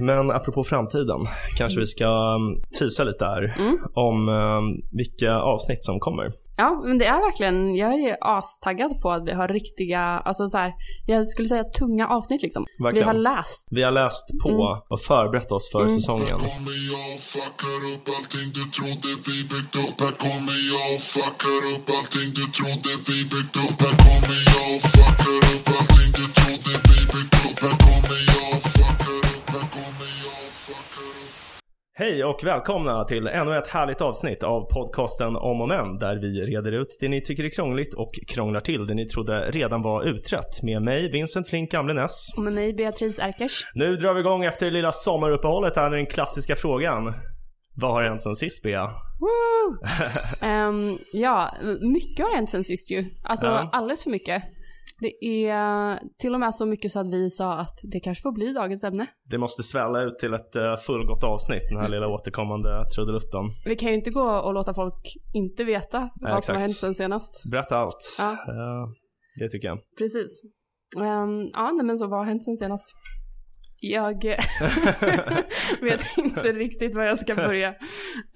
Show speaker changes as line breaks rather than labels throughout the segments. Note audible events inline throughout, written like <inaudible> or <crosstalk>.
Men apropå framtiden, kanske vi ska tisa lite här
Mm.
om eh, vilka avsnitt som kommer.
Ja, men det är verkligen, jag är ju astaggad på att vi har riktiga, alltså så här, jag skulle säga tunga avsnitt liksom. Vi
Verkligen.
har läst.
Vi har läst på
Mm.
och förberett oss för
Mm.
säsongen.
Här kommer jag och fuckar upp allting du trodde vi byggt upp. Här kommer jag och fuckar upp allting du trodde vi byggt upp. Här kommer jag och fuckar upp allting du trodde vi byggt upp. Här kommer jag och fuckar upp. Här kommer jag och fuckar upp.
Hej och välkomna till ännu ett härligt avsnitt av podcasten Om och Men där vi reder ut det ni tycker är krångligt och krånglar till det ni trodde redan var utrett med mig Vincent Flink Gamlenäs.
Och med mig Beatrice Erkers.
Nu drar vi igång efter det lilla sommaruppehållet här med den klassiska frågan. Vad har hänt sen sist Bea? <laughs>
Woo! Ehm, ja, mycket har hänt sen sist ju. Alltså
Ja.
alldeles för mycket. Det är till och med så mycket så att vi sa att det kanske får bli dagens ämne.
Det måste svälla ut till ett eh, fullgott avsnitt den här lilla återkommande trudelutten.
Vi kan ju inte gå och låta folk inte veta vad som
exakt.
har hänt sen senast.
Berätta allt.
Ja.
Eh, det tycker jag.
Precis. Ehm, ja, nej, men så vad har hänt sen senast? <laughs> Jag eh, vet inte riktigt var jag ska börja.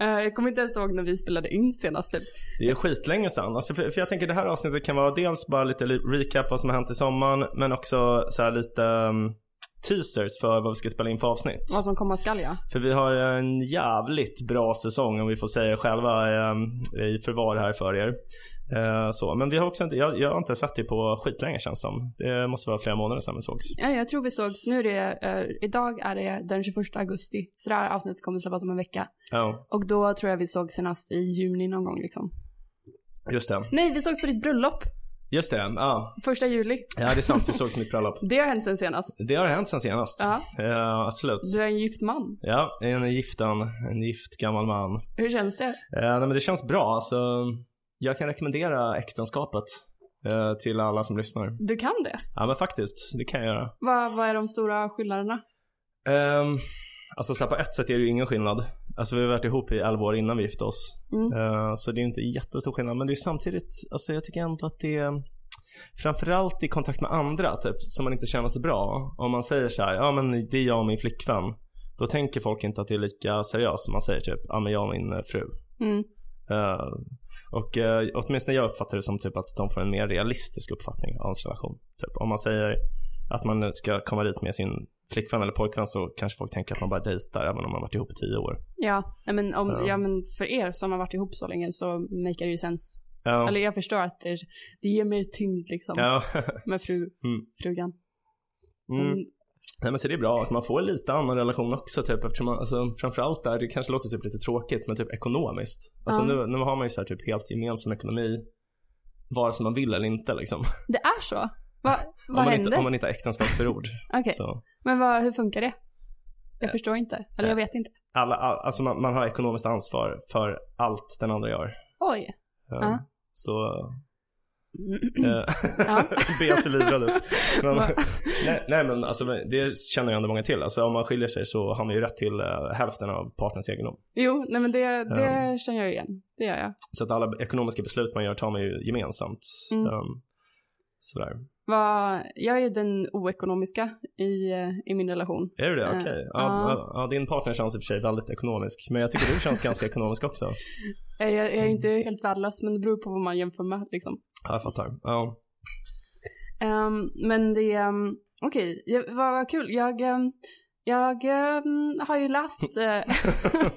Eh, jag kommer inte ens ihåg när vi spelade in senast. Typ.
Det är skitlänge sedan. Alltså för, för jag tänker det här avsnittet kan vara dels bara lite li- recap vad som har hänt i sommaren men också så här lite um, teasers för vad vi ska spela in för avsnitt.
Vad som komma skall ja.
För vi har en jävligt bra säsong om vi får säga det själva ehm, i förvar här för er. Eh, så. Men vi har också inte, jag, jag har inte sett det på skitlänge känns som. Det måste vara flera månader sedan vi sågs.
ja. Jag tror vi sågs, nu är det, eh, idag är det den 21 augusti. Så det här avsnittet kommer släppas om en vecka.
Ja,
Och då tror jag vi sågs senast i juni någon gång liksom.
just det.
Nej, vi sågs på ditt bröllop,
Just det, ja.
första juli.
Ja, det är sant. Vi sågs mitt bröllop.
Det har hänt sen senast.
Det har hänt sen senast.
Ja,
Eh, absolut.
du är en gift man.
Ja, en giften, en gift gammal man.
Hur känns det?
Eh, nej, men det känns bra. Alltså, jag kan rekommendera äktenskapet eh, till alla som lyssnar.
Du kan det?
Ja, men faktiskt, det kan jag göra.
Vad, vad är de stora skillnaderna?
Ehm, alltså så här, på ett sätt är det ju ingen skillnad. Alltså vi har varit ihop i 11 år innan vi gifte oss.
Mm.
Eh, så det är ju inte jättestor skillnad. Men det är samtidigt, alltså jag tycker ändå att det är framförallt i kontakt med andra typ, som man inte känner sig bra. Om man säger så här, ja men det är jag och min flickvän. Då tänker folk inte att det är lika seriöst som man säger typ, ja men jag och min eh, fru.
Mm.
Eh, och eh, åtminstone jag uppfattar det som typ att de får en mer realistisk uppfattning av ens relation. Typ, om man säger att man ska komma dit med sin flickvän eller pojkvän så kanske folk tänker att man bara dejtar även om man varit ihop i tio år.
Ja, nej, men, om,
Ja.
ja. men för er som har varit ihop så länge så maker det ju sens.
Ja,
Eller jag förstår att det, det ger mer tyngd liksom
ja. <laughs>
med fru,
Mm.
frugan.
mm.
Mm.
Nej men så det är bra, alltså, man får en lite annan relation också typ eftersom man, alltså, framförallt där, det kanske låter typ lite tråkigt men typ ekonomiskt. Alltså
Ja.
nu, nu har man ju så här typ helt gemensam ekonomi vare sig man vill eller inte liksom.
Det är så? Va,
om, man
vad
inte,
händer?
om man inte har äktenskapsförord.
<laughs> Okej,
så.
men vad, hur funkar det? Jag förstår inte, eller jag vet inte.
alla, all, alltså man, man har ekonomiskt ansvar för allt den andra gör.
Oj.
Eh,
Ja.
Så,
Mm.
eh, <laughs>
Ja.
Bea ser livrad
<laughs>
ut. Men,
Va?
nej, nej men alltså det känner ju ändå många till. Alltså om man skiljer sig så har man ju rätt till eh, hälften av partners egendom.
Jo, nej men det, det känner jag igen. Det gör jag.
Så att alla ekonomiska beslut man gör tar man ju gemensamt.
Mm.
Eh, sådär.
Vad- jag är ju den oekonomiska i, eh, i min relation.
Är du det?
Eh,
Okej. Ja,
ja.
ja. ja, din partner känns i och för sig väldigt ekonomisk. Men jag tycker du
<laughs>
känns ganska ekonomisk också.
Eh, Jag, jag är
Mm.
inte helt värdelös, men det beror på vad man jämför med liksom.
Ja, jag fattar. Ja.
Ehm, men det, um, okej, jag- vad, vad kul. Jag, ehm, jag ehm, har ju läst eh, <laughs>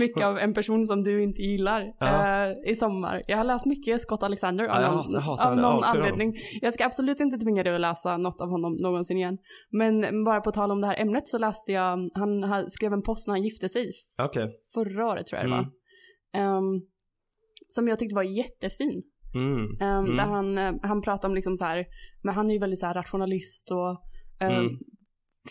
mycket av en person som du inte gillar
Ja.
eh, i sommar. Jag har läst mycket Scott Alexander
Ja,
av
jag
någon,
hatar- jag hatar
av
henne.
någon
Ja, kul.
anledning. Jag ska absolut inte tvinga dig att läsa något av honom någonsin igen. Men bara på tal om det här ämnet så läste jag, han, han skrev en post när han gifte sig
Okej.
förra året tror jag det
Mm.
var. Ehm, som jag tyckte var jättefin.
Mm.
Ehm,
Mm.
Där han, eh, han pratar om liksom så här, men han är ju väldigt så här rationalist och eh,
Mm.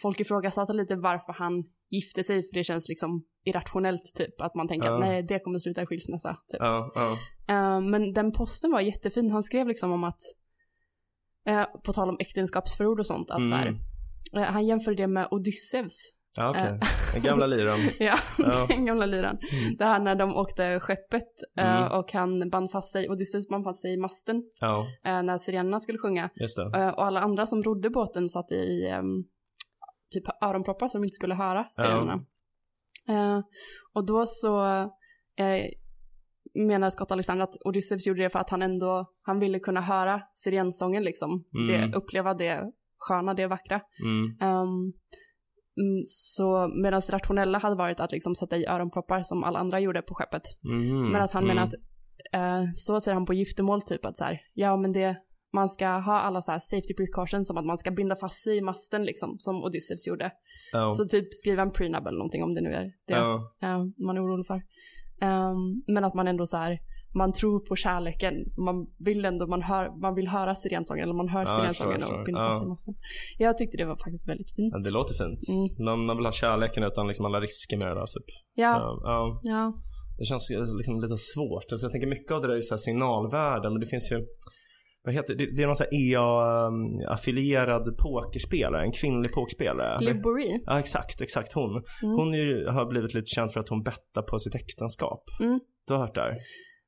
folk ifrågasatte lite varför han gifte sig för det känns liksom irrationellt typ att man tänker
Ja.
att nej det kommer sluta i skilsmässa. Typ.
Ja, ja.
Eh, men den posten var jättefin, han skrev liksom om att eh, på tal om äktenskapsförord och sånt, att så här,
Mm.
eh, han jämförde det med Odysseus. <laughs>
Ja, okej.
Eh.
<laughs> Den gamla
<laughs>
liran.
Ja,
Ja.
den gamla liran.
Mm.
Det här när de åkte skeppet eh,
Mm.
och han band fast sig, Odysseus band fast sig i masten
Ja,
eh, när sirenerna skulle sjunga.
just det.
Eh, och alla andra som rodde båten satt i ehm, typ öronproppar så de inte skulle höra sirenerna.
Ja.
Eh, och då så eh, menar Scott Alexander att Odysseus gjorde det för att han ändå, han ville kunna höra sirensången liksom.
Mm.
Det, uppleva det sköna, det vackra.
Mm.
Ehm, mm, så medan det rationella hade varit att liksom sätta i öronproppar som alla andra gjorde på skeppet.
Mhm.
Men att han
Mm.
menar att, eh, så säger han på giftermål typ att så här, ja men det, man ska ha alla så här safety precautions som att man ska binda fast sig i masten liksom, som Odysseus gjorde.
Ja.
Så typ skriva en prenup eller någonting om det nu är det
Ja.
eh, man är orolig för. Ehm, men att man ändå så här, man tror på kärleken, man vill ändå, man, hör, man vill höra sirensången, eller man hör
Ja, jag
sirensången
förstår,
och
jag
binda
förstår.
fast sig i masten. Jag tyckte det var faktiskt väldigt fint.
Ja, det låter fint.
Mm.
Man, man vill ha kärleken utan liksom alla risker med det där typ.
Ja,
Ja. ja.
ja,
Det känns eh, liksom lite svårt. Alltså jag tänker mycket av det där är ju så här signalvärden men det finns ju vad heter det? Det är någon sån här E EA-affilierad pokerspelare, en kvinnlig pokerspelare.
Liv Borie.
Ja exakt, exakt hon.
Mm.
Hon är ju, har blivit lite känd för att hon bettar på sitt äktenskap.
Mm.
Du har hört det här?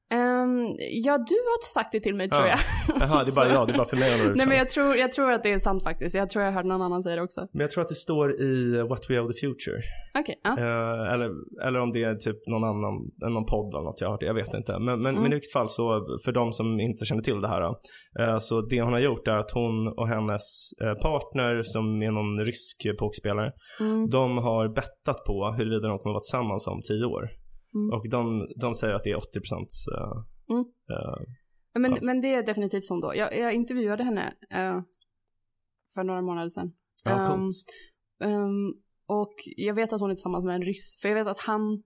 Ehm, ja, du har sagt det till mig tror
Ja.
jag.
Jaha, det är bara jag, det är bara för
<laughs>
mig hon har gjort
Nej
så.
men jag tror, jag tror att det är sant faktiskt. Jag tror jag hörde någon annan säga det också.
men jag tror att det står i What We Owe The Future.
Okej, <laughs> ja.
Eh, eller, eller om det är typ någon annan, eh, någon podd eller något jag har hört, jag vet inte. Men, men,
Mm.
men i vilket fall så, för de som inte känner till det här då, eh, så det hon har gjort är att hon och hennes eh, partner som är någon rysk pokerspelare,
Mm.
de har bettat på huruvida de kommer vara tillsammans om tio år.
Mm.
Och de, de säger att det är 80 procent. eh,
Mm. Men,
fast.
men det är definitivt hon då. Jag, jag intervjuade henne eh, för några månader sedan.
ja,
Ehm,
coolt.
Ehm, och jag vet att hon är tillsammans med en ryss. För jag vet att han,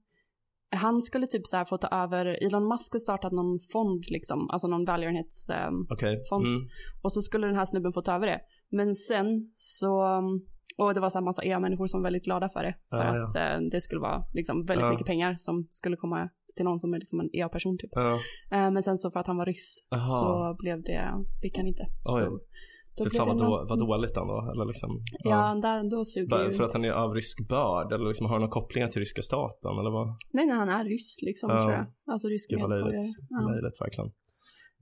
han skulle typ så här få ta över, Elon Musk har startat någon fond liksom, alltså någon välgörenhets... ehm,
Okej.
sånt.
Mm.
och så skulle den här snubben få ta över det. Men sen så, mm, och det var så här massa EA-människor som var väldigt glada för det. För
Ja, ja.
att eh, det skulle vara liksom väldigt
Ja.
mycket pengar som skulle komma till någon som är liksom en EA-person typ.
Ja,
Eh, men sen så för att han var ryss
Aha.
så blev det, fick han inte. Så
Oj.
då
Fy
blev
fan vad,
det
då,
någon-
vad dåligt ändå. Eller liksom,
Ja, där, då suger
Bara
ju...
För att han är av rysk börd eller liksom har några kopplingar till ryska staten eller vad?
Nej, nej, han är ryss liksom
Ja.
tror jag. Alltså rysk
Gud vad
medborgare.
löjligt.
Ja.
Löjligt verkligen.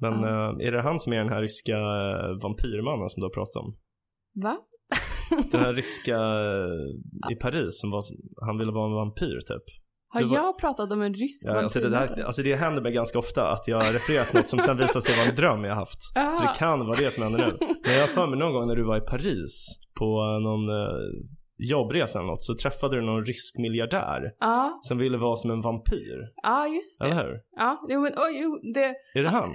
Men eh, är det han som är den här ryska eh, vampyrmannen som du har pratat om?
Va?
Den här
<laughs>
ryska eh, i Paris som var, han ville vara en vampyr typ.
Har
Det var-
jag pratat om en rysk
Ja, alltså, det
vampyrmördare?
där, alltså det händer mig ganska ofta att jag har refererat något som sen visar sig vara en dröm jag haft. Så
Aha.
det kan vara det som händer nu. Men jag har för mig någon gång när du var i Paris på eh, någon eh, jobbresa eller något så träffade du någon rysk miljardär
Ja,
som ville vara som en vampyr.
ja just det.
Eller hur?
Ja, jo men oj, jo, det...
Är det han?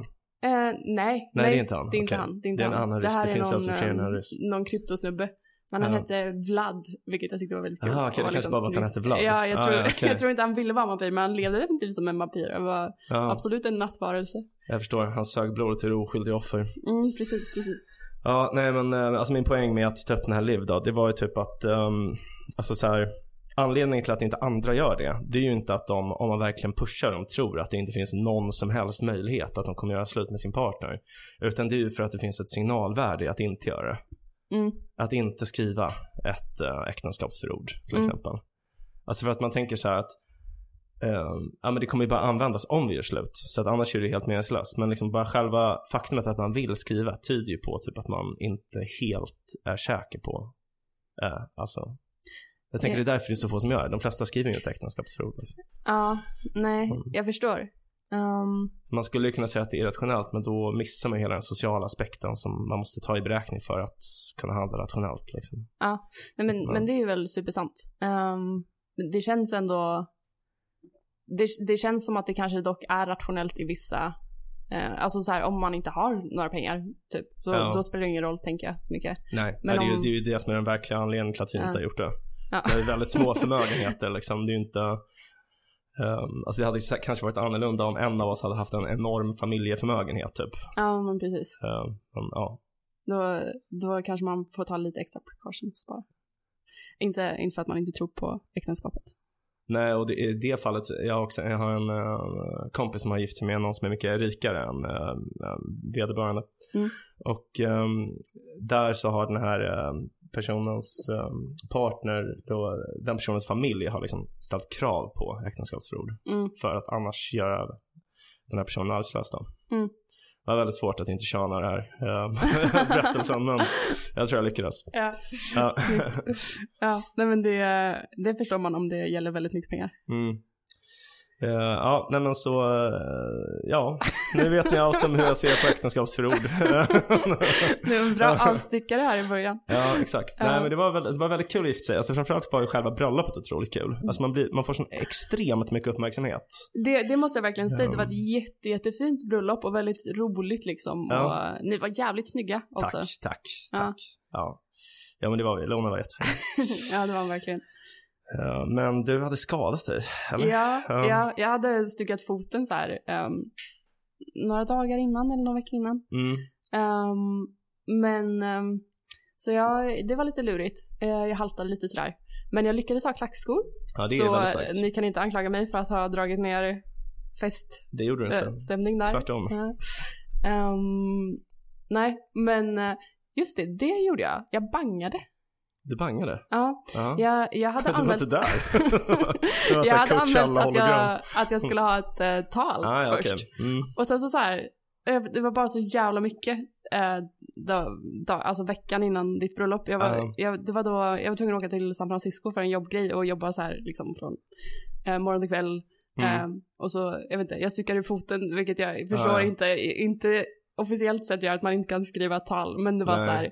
Eh, nej,
Nej, det är inte han.
Det är inte
Okej.
han. Det är, inte
Det är en
han.
annan
det
ryss.
här
Det
är
finns
någon,
alltså fler än en
eh,
ryss.
någon kryptosnubbe. Men han
Ja.
hette Vlad, vilket jag tyckte var väldigt kul.
Aha, okej, det
Han
kanske bara var att han
ryss.
hette Vlad.
Ja, jag
Ah,
tror,
ja, okej.
<laughs> jag tror inte han ville vara vampyr, men han levde definitivt som en vampyr. Han var
Ja,
absolut en nattvarelse.
jag förstår. Han sög blodet ur oskyldiga offer.
Mm, precis, precis.
Ja, nej men eh, alltså min poäng med att ta upp den här Liv då, det var ju typ att, ehm, alltså så här, anledningen till att inte andra gör det, det är ju inte att de, om man verkligen pushar dem, tror att det inte finns någon som helst möjlighet att de kommer göra slut med sin partner. Utan det är ju för att det finns ett signalvärde i att inte göra det.
Mm.
Att inte skriva ett äh, äktenskapsförord till
Mm.
exempel. Alltså för att man tänker så här att ehm, ja, men det kommer ju bara användas om vi gör slut. Så att annars är det ju helt meningslöst. Men liksom bara själva faktumet att man vill skriva tyder ju på typ att man inte helt är säker på. eh, alltså. Jag tänker
Ja.
det är därför det är så få som gör det. De flesta skriver ju ett äktenskapsförord. Liksom.
Ja, nej,
Mm.
jag förstår. Ehm,
Man skulle ju kunna säga att det är irrationellt men då missar man ju hela den sociala aspekten som man måste ta i beräkning för att kunna handla rationellt. Liksom.
nej, men,
Ja.
men det är ju väl supersant. Ehm, det känns ändå... Det, det känns som att det kanske dock är rationellt i vissa... eh, alltså så här, om man inte har några pengar, typ. Så,
Ja.
Då spelar det ingen roll, tänker jag, så mycket.
Nej,
Men
det, är ju,
om-
det är ju det som är den verkliga anledningen till att vi
Ja.
inte har gjort det.
Ja.
Det är väldigt små <laughs> förmögenheter liksom. Det är ju inte... ehm, alltså det hade sä- kanske varit annorlunda om en av oss hade haft en enorm familjeförmögenhet typ.
<laughs> Ja, men precis.
Ehm, men, ja.
Då, då kanske man får ta lite extra precautions bara. Inte, inte för att man inte tror på äktenskapet.
Nej, och det, i det fallet, jag, har också, jag har en eh, kompis som har gift sig med någon som är mycket rikare än uh, vederbörande.
Mm.
Och ehm, där så har den här eh, personens ehm, partner, då, den personens familj har liksom ställt krav på äktenskapsförord.
Mm.
för att annars göra den här personen arbetslös då.
Mm.
Det var väldigt svårt att inte tjana det här
<laughs>
eh, berättelsen, men jag tror jag lyckades.
Ja,
Ja.
ja nej, men det, det förstår man om det gäller väldigt mycket pengar.
Mm. Eh, ja, nej men så, eh, ja, nu vet ni allt om hur jag ser på
<laughs>
äktenskapsförord.
Det var en bra avstickare här i början.
ja, exakt.
Ja.
Nej men det var, väl, det var väldigt kul att gifta sig. Alltså framförallt var ju själva bröllopet otroligt kul.
Mm.
Alltså man, blir, man får sån extremt mycket uppmärksamhet.
Det, det måste jag verkligen säga, det var
Ja.
ett jätte, jättefint bröllop och väldigt roligt liksom.
Ja.
Och ni var jävligt snygga också.
Tack, tack,
Ja.
tack. Ja. ja, men det var vi. Lona var jättefin.
ja, det var han verkligen.
Eh, men du hade skadat dig, eller?
Ja,
Ja.
ja, jag hade stukat foten så här ehm, några dagar innan eller någon vecka innan.
Mm.
Ehm, men ehm, så jag, det var lite lurigt. Eh, jag haltade lite sådär. Men jag lyckades ha klackskor.
Ja, det är
så
väldigt starkt.
eh, ni kan inte anklaga mig för att ha dragit ner feststämning
Det gjorde du inte.
äh, stämning där.
Tvärtom.
Ja. Ehm, nej, men eh, just det, det gjorde jag. Jag bangade.
Du bangade.
Ja,
Ja.
jag, jag
<laughs>
hade
du var
använt...
inte där.
<laughs>
det var
jag
såhär
hade
Coachella
anmält att
hologram.
jag, att jag skulle ha ett eh, tal
Ah, ja,
först.
okej. Mm.
Och sen så, så här, eh, det var bara så jävla mycket. Eh, dag, dag, alltså veckan innan ditt bröllop. Jag var,
Ja.
jag, det var då, jag var tvungen att åka till San Francisco för en jobbgrej och jobba så här liksom från eh, morgon till kväll.
Mm.
Eh, och så, jag vet inte, jag styckade ur foten vilket jag förstår
Ja.
inte, inte officiellt sett gör att man inte kan skriva ett tal. Men det var
Nej.
så här,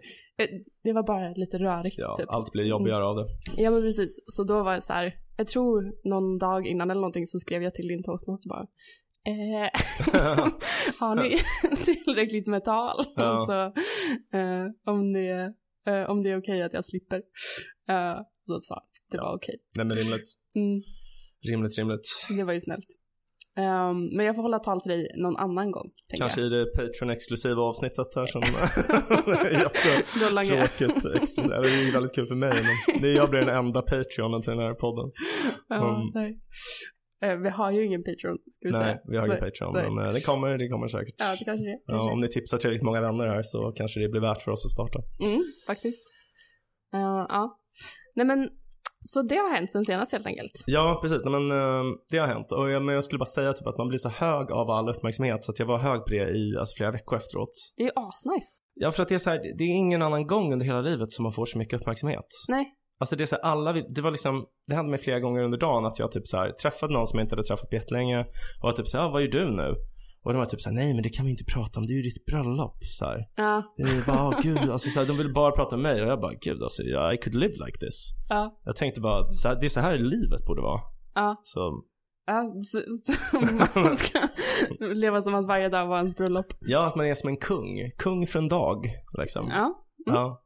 eh, det var bara lite rörigt
Ja,
typ.
allt blir jobbigare av det. <laughs>
Ja men precis, så då var det så här, jag tror någon dag innan eller någonting så skrev jag till din toastmaster bara eh, <laughs> Har ni <laughs> tillräckligt med tal?
Ja.
Alltså, eh, om det, eh, om det är okej att jag slipper. Eh, då sa han, det var okej.
Nej men rimligt.
Mm,
Rimligt, rimligt.
så det var ju snällt. Ehm, men jag får hålla tal till dig någon annan gång. tänker
Kanske
jag.
i det Patreon-exklusiva avsnittet här
<laughs>
som är
Då langar jag.
jättetråkigt. Det är ju väldigt kul för mig. Men det är jag blir den enda Patreonen till den här podden.
Ja,
Mm.
nej. Eh, vi har ju ingen Patreon, ska vi säga.
Nej, vi har ingen
Nej,
Patreon.
nej.
Men eh, det kommer, det kommer säkert.
Ja, det kanske det är.
Ja,
Kanske.
om ni tipsar tillräckligt många vänner här så kanske det blir värt för oss att starta.
Mm, faktiskt. Eh, ja. Nej men, så det har hänt sen senast helt enkelt.
Ja, precis. Nej, men eh, det har hänt. Och jag, men jag skulle bara säga typ att man blir så hög av all uppmärksamhet så att jag var hög på det i alltså, flera veckor efteråt.
Det är ju asnice.
Ja, för att det är så här, det är ingen annan gång under hela livet som man får så mycket uppmärksamhet.
Nej.
Alltså det är så här, alla, vi- det var liksom, det hände mig flera gånger under dagen att jag typ så här träffade någon som jag inte hade träffat på jättelänge och var typ så här, ah, vad gör du nu? Och de var typ så här, nej men det kan vi inte prata om, det är ju ditt bröllop så här.
Ja,
Det är bara, "Ah, gud, alltså så här, de ville bara prata om mig och jag bara, gud alltså, yeah, I could live like this.
ja,
Jag tänkte bara, att så här, det är så här livet borde vara.
ja.
Så,
ja. Så, så, man ska <laughs> leva som att varje dag var ens bröllop.
ja att man är som en kung, kung för en dag liksom.
Ja. Mm.
Ja.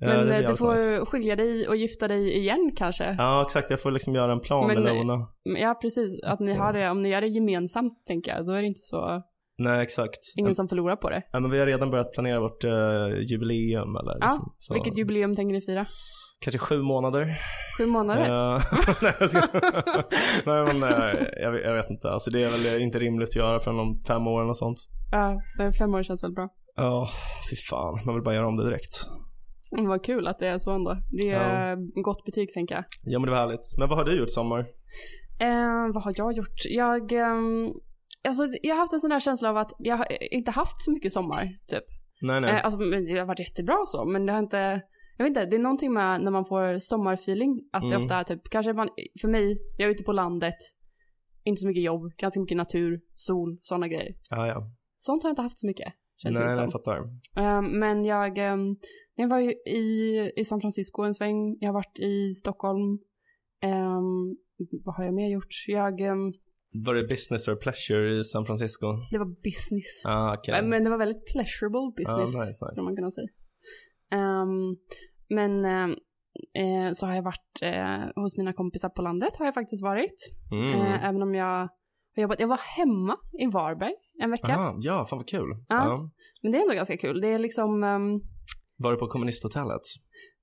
Mm. Ja, det
Men
blir
eh, du
jävligt nice.
får skilja dig och gifta dig igen kanske. Ja,
Ja exakt, jag får liksom göra en plan
Men- eh,
med Lona.
precis. Att ni
Så.
har det, om ni gör det gemensamt tänker jag, då är det inte så,
Nej exakt.
ingen som förlorar på det.
Ja, men vi har redan börjat planera vårt eh, jubileum eller
Ja,
liksom. Så,
Vilket jubileum tänker ni fira?
Kanske sju månader.
Sju månader?
Eh, <laughs> nej, jag ska... <laughs> nej men eh, jag, vet- jag vet inte. Alltså det är väl inte rimligt att göra förrän om fem år eller något sånt.
Ja, men fem år känns väl bra.
Ja, fy fan. Man vill bara göra om det direkt.
Mm, Vad kul att det är så ändå. Det är gott betyg tänker jag.
Ja men det var härligt. Men vad har du gjort i sommar?
Eh, vad har jag gjort? Jag, ehm, alltså, jag har haft en sån här känsla av att jag har inte haft så mycket sommar. Typ.
Nej nej.
Eh, alltså, men det har varit jättebra och så, men det har inte... Jag vet inte, det är någonting med när man får sommarfeeling. Att det
Mm.
ofta är typ, kanske man, för mig, jag är ute på landet. Inte så mycket jobb, ganska mycket natur, sol, sådana grejer.
ja ja.
Sånt har jag inte haft så mycket. Känns
Nej
det
nej,
som.
jag fattar.
Ehm, men jag, ehm, jag var ju i, i San Francisco en sväng, jag har varit i Stockholm. Ehm, vad har jag mer gjort? Jag, ehm,
Var det business or pleasure i San Francisco?
det var business. Ehm,
Ah, okej.
Eh, Men- Men det var väldigt pleasurable business,
Ja, nice, nice.
kan man kunna säga. Ehm, men ehm, eh, så har jag varit eh, hos mina kompisar på landet, har jag faktiskt varit.
Mm.
Eh, även om jag har jobbat, jag var hemma i Varberg en vecka.
Aha, ja, fan vad kul.
Ja.
Ja.
Men det är ändå ganska kul. Det är liksom, ehm,
Var du på kommunisthotellet?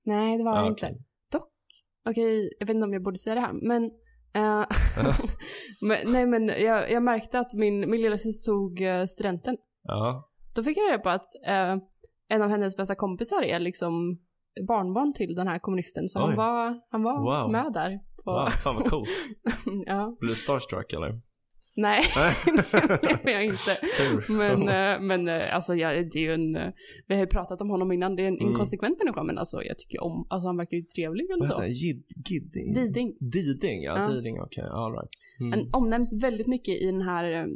nej det var jag
Ah,
inte.
okej.
Okej, jag vet inte om jag borde säga det här, men, eh, <laughs> men nej men jag, jag märkte att min, min lilla syster tog eh, studenten.
Ja.
Då fick jag reda på att eh, en av hennes bästa kompisar är liksom barnbarn till den här kommunisten. Så han
Oj.
var, han var
Wow.
med där. På,
Wow, fan vad coolt.
<laughs> ja. <laughs>
Blev du starstruck eller?
Nej, det blev jag inte.
Tur.
Men, eh, men eh, alltså jag, det är ju en, eh, vi har ju pratat om honom innan, det är en
Mm.
inkonsekvent människa men alltså jag tycker om, alltså han verkar ju trevlig
<laughs>
och
Vad heter
så.
han? Gid, Gidding?
Diding.
Diding, ja.
Ja.
Diding, okej. All right. Mm.
Han omnämns väldigt mycket i den här eh,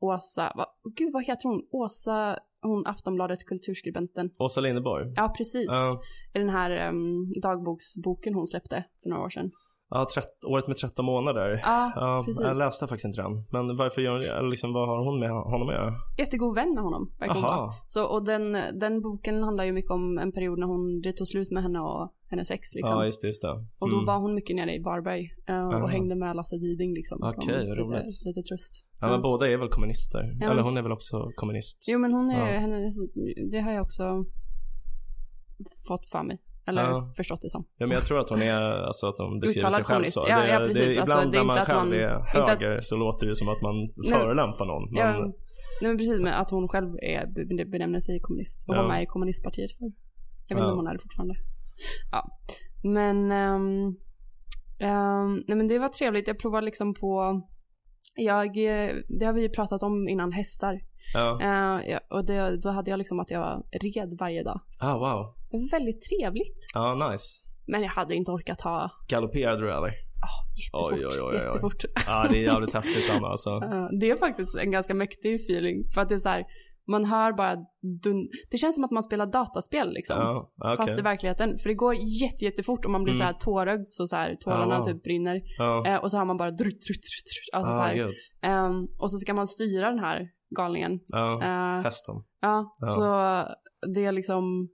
Åsa, va, gud vad heter hon? Åsa, hon Aftonbladet kulturskribenten.
Åsa Linderborg.
Ja precis,
Ja,
i den här eh, dagboksboken hon släppte för några år sedan.
ja trett, året med 13 månader.
Ja,
Ja,
precis.
jag läste faktiskt inte den. Men varför gör hon det? Eller liksom, vad har hon med honom att göra?
jättegod vän med honom, verkar hon vara.
Aha.
Så, och den, den boken handlar ju mycket om en period när hon, det tog slut med henne och hennes ex liksom.
Ja, just det. Just det. Mm.
Och då var hon mycket nere i Varberg eh,
Aha.
och hängde med Lasse Diding liksom.
Okej,
Som
vad
lite,
roligt.
lite tröst.
ja, men båda är väl kommunister?
men-
Eller hon är väl också kommunist?
Jo men hon är,
Ja.
henne, det har jag också fått för mig. Eller
Ja.
förstått det som.
Ja, men jag tror att hon är, alltså att de beskriver
Uttalad
sig själv
kommunist.
så.
Ja,
det,
ja,
det-
precis. Alltså,
ibland
det är
när man
inte att
själv
man-
är
inte att-
höger så låter det som att man
men-
förolämpar någon. Men,
Ja, nej men precis, men att hon själv är, be- benämner sig kommunist. Och
Ja.
var med i kommunistpartiet för. Jag vet inte
Ja.
om hon är det fortfarande. Ja. Men, ehm, ehm, nej men det var trevligt. Jag provade liksom på, jag, eh, det har vi ju pratat om innan, hästar.
ja.
Eh, ja, och det, då hade jag liksom att jag red varje dag.
Ah, wow.
Det var väldigt trevligt.
Ja, nice.
Men jag hade inte orkat ha
Galopperade du eller?
jättefort.
Oj, oj, oj, oj.
jättefort.
Ja, det är jävligt häftigt Anna alltså.
Eh, det är faktiskt en ganska mäktig feeling. För att det är så här, man hör bara dun... Det känns som att man spelar dataspel liksom.
Ja, okej.
Fast i verkligheten. För det går jätte, jättefort och man blir
Mm.
så här tårögd så, så här tårarna
Ah, wow.
typ brinner.
Ja.
Eh, och så har man bara drutt, drutt, drutt, drutt. Alltså så
Ah,
här.
gud.
Ehm, och så ska man styra den här galningen.
Ja,
Eh,
hästen.
Ja,
Ja.
så det är liksom...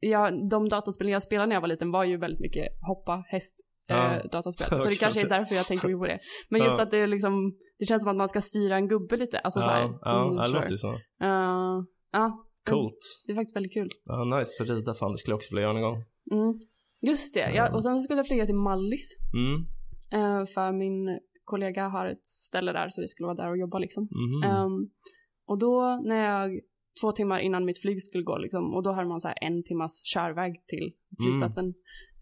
Ja, de dataspel jag spelade när jag var liten var ju väldigt mycket hoppa, häst,
Ja.
eh,
<laughs>
dataspel. Så det
Klart
kanske är
det.
därför jag tänker på det. Men just
Ja.
att det är liksom, det känns som att man ska styra en gubbe lite. Alltså så här,
Ja, ja,
mm,
ja, det
sure.
låter ju så.
Eh, ja,
Coolt.
det är faktiskt väldigt kul.
Ja, nice. Rida fan, det skulle jag också vilja göra någon gång.
Mm. Just det, ja, och sen skulle jag flyga till Mallis.
Mm,
eh, för min kollega har ett ställe där så vi skulle vara där och jobba liksom.
mhm.
Ehm, och då när jag, två timmar innan mitt flyg skulle gå liksom, och då har man så här en timmas körväg till flygplatsen.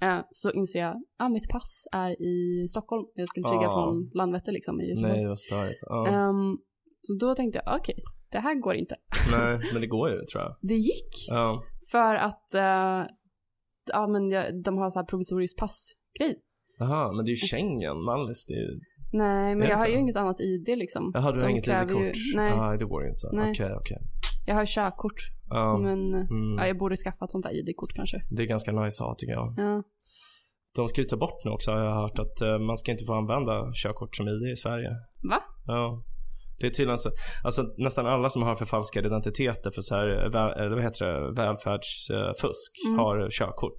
eh, så inser jag, ah, mitt pass är i Stockholm. Jag skulle flyga
Ah.
från Landvetter liksom i Göteborg.
Nej, vad störigt. Ja.
Ehm, så då tänkte jag, okej, det här går inte.
Nej, men det går ju tror jag.
Det gick.
Ja,
För att, eh, ja men jag, de har så här provisorisk passgrej.
Jaha, men det är ju Schengen, Mallis. Det är ju...
Nej, men
Är
jag har
det?
ju inget annat ID liksom.
Jaha, du har
De
inget
kräver ju-
ID-kort?
nej.
Ah, det går ju inte.
Nej.
Okej, okej.
Jag har ju körkort,
Ja,
men eh, ja,
mm.
jag borde skaffa ett sånt där ID-kort kanske.
Det är ganska nice att ha tycker jag.
Ja.
De ska ju ta bort nu också har jag hört att eh, man ska inte få använda körkort som ID i Sverige.
Va?
Ja. Det är tydligen så, alltså nästan alla som har förfalskade identiteter för så här, eh, väl, eller vad heter det, välfärdsfusk
Mm.
har körkort.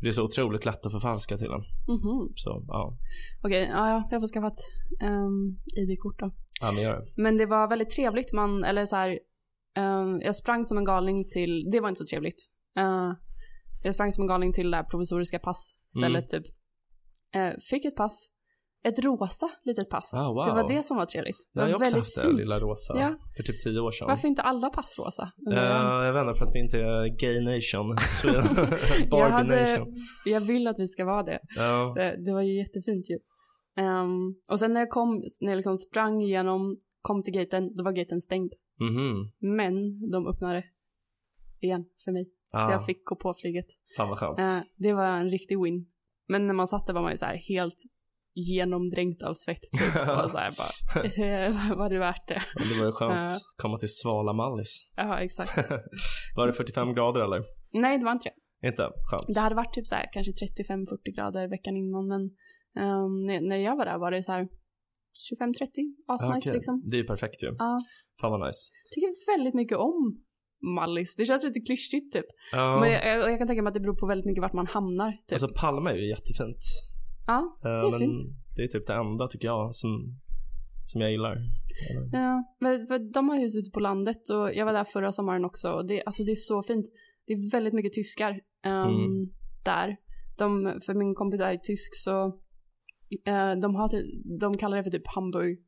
Det är så otroligt lätt att förfalska till en.
Mhm.
Så ja,
Okej, ja, ja, jag får skaffa ett ehm, ID-kort då.
ja men gör det.
Men det var väldigt trevligt, man, eller så här, ehm, jag sprang som en galning till, det var inte så trevligt. Eh, jag sprang som en galning till det där provisoriska passstället
Mm.
typ. Eh, fick ett pass, ett rosa litet pass.
Ah, wow.
Det var det som var trevligt.
Jag har
var
ju också haft det, lilla rosa.
Ja.
För typ tio år sedan.
Varför inte alla pass rosa?
Eh,
undrar jag.
jag vet inte, för att vi inte är gay
<laughs>
nation. Sweden.
jag,
Barbie
hade,
nation.
jag vill att vi ska vara det.
Ja.
Det, det var ju jättefint ju. Ehm, och sen när jag kom, när jag liksom sprang igenom, kom till gaten, då var gaten stängd.
Mhm.
Men de öppnade igen för mig. Så
Ah,
jag fick gå på flyget.
Fan vad <laughs> skönt.
Eh, det var en riktig win. Men när man satt där var man ju så här helt genomdränkt av svett.
<laughs>
Typ. Och så här bara, <laughs> eh, var det värt det?
Men Det var ju skönt.
Eh.
Komma till svala Mallis. <laughs>
Ja, exakt.
Var det 45 grader eller?
Nej, det var inte det.
Inte? Skönt.
Det hade varit typ så här kanske 35-40 grader veckan innan. Men ehm, när, när jag var där var det så här 25-30,
Ja,
asnice
okej.
liksom.
Det är ju perfekt ju.
Ja,
Fan vad nice.
tycker väldigt mycket om Mallis. Det känns lite klyschigt typ.
Ja.
Men jag, jag, jag kan tänka mig att det beror på väldigt mycket vart man hamnar. Typ.
Alltså Palma är ju jättefint.
ja,
Eh,
är
men
fint.
det är typ det enda tycker jag som, som jag gillar. Eller-
Ja, men, men de har hus ute på landet och jag var där förra sommaren också och det, alltså det är så fint. Det är väldigt mycket tyskar ehm,
Mm.
där. De, för min kompis är ju tysk så eh, de, har, typ- de kallar det för typ Hamburg,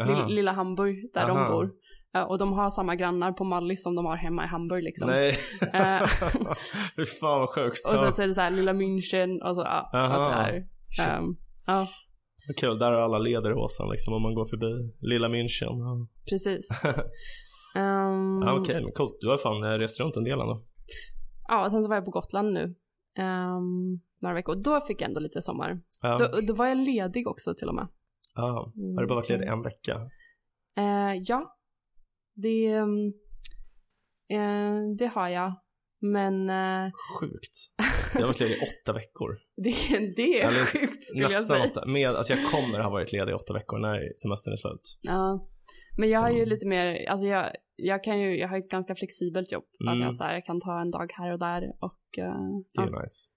Aha.
Lill, lilla Hamburg där de
Aha.
bor. Eh, och de har samma grannar på Mallis som de har hemma i Hamburg liksom.
Nej.
Eh.
<laughs> Fy fan vad sjukt.
och
Ja.
sen så är ehm, det så här lilla München och så, alltså, ja,
Aha.
allt det här.
Shit.
Ehm, ja.
Vad Kul, där har alla lederhosen liksom om man går förbi lilla München. Ja.
Precis.
<laughs>
Ehm,
Ja, Ah, Okej, men coolt. Du har fan eh, rest runt en del ändå.
Ja, och sen så var jag på Gotland nu. ehm, några veckor. Då fick jag ändå lite sommar.
Ja.
Då, då var jag ledig också till och med.
ja.
Mm.
Har du bara varit ledig en vecka?
Eh, ja, det, ehm, eh, det har jag. Men eh, <laughs>
Sjukt. Jag har varit ledig i åtta veckor.
det, det är
Eller inte-
sjukt skulle jag
Nästan
säga.
åtta. Med, alltså jag kommer ha varit ledig i åtta veckor när semestern är slut.
Ja. Men jag har ju
Mm.
lite mer, alltså jag, jag kan ju, jag har ett ganska flexibelt jobb. Att
Mm.
jag, så här, jag kan ta en dag här och där och eh,
Det är
ja.
nice.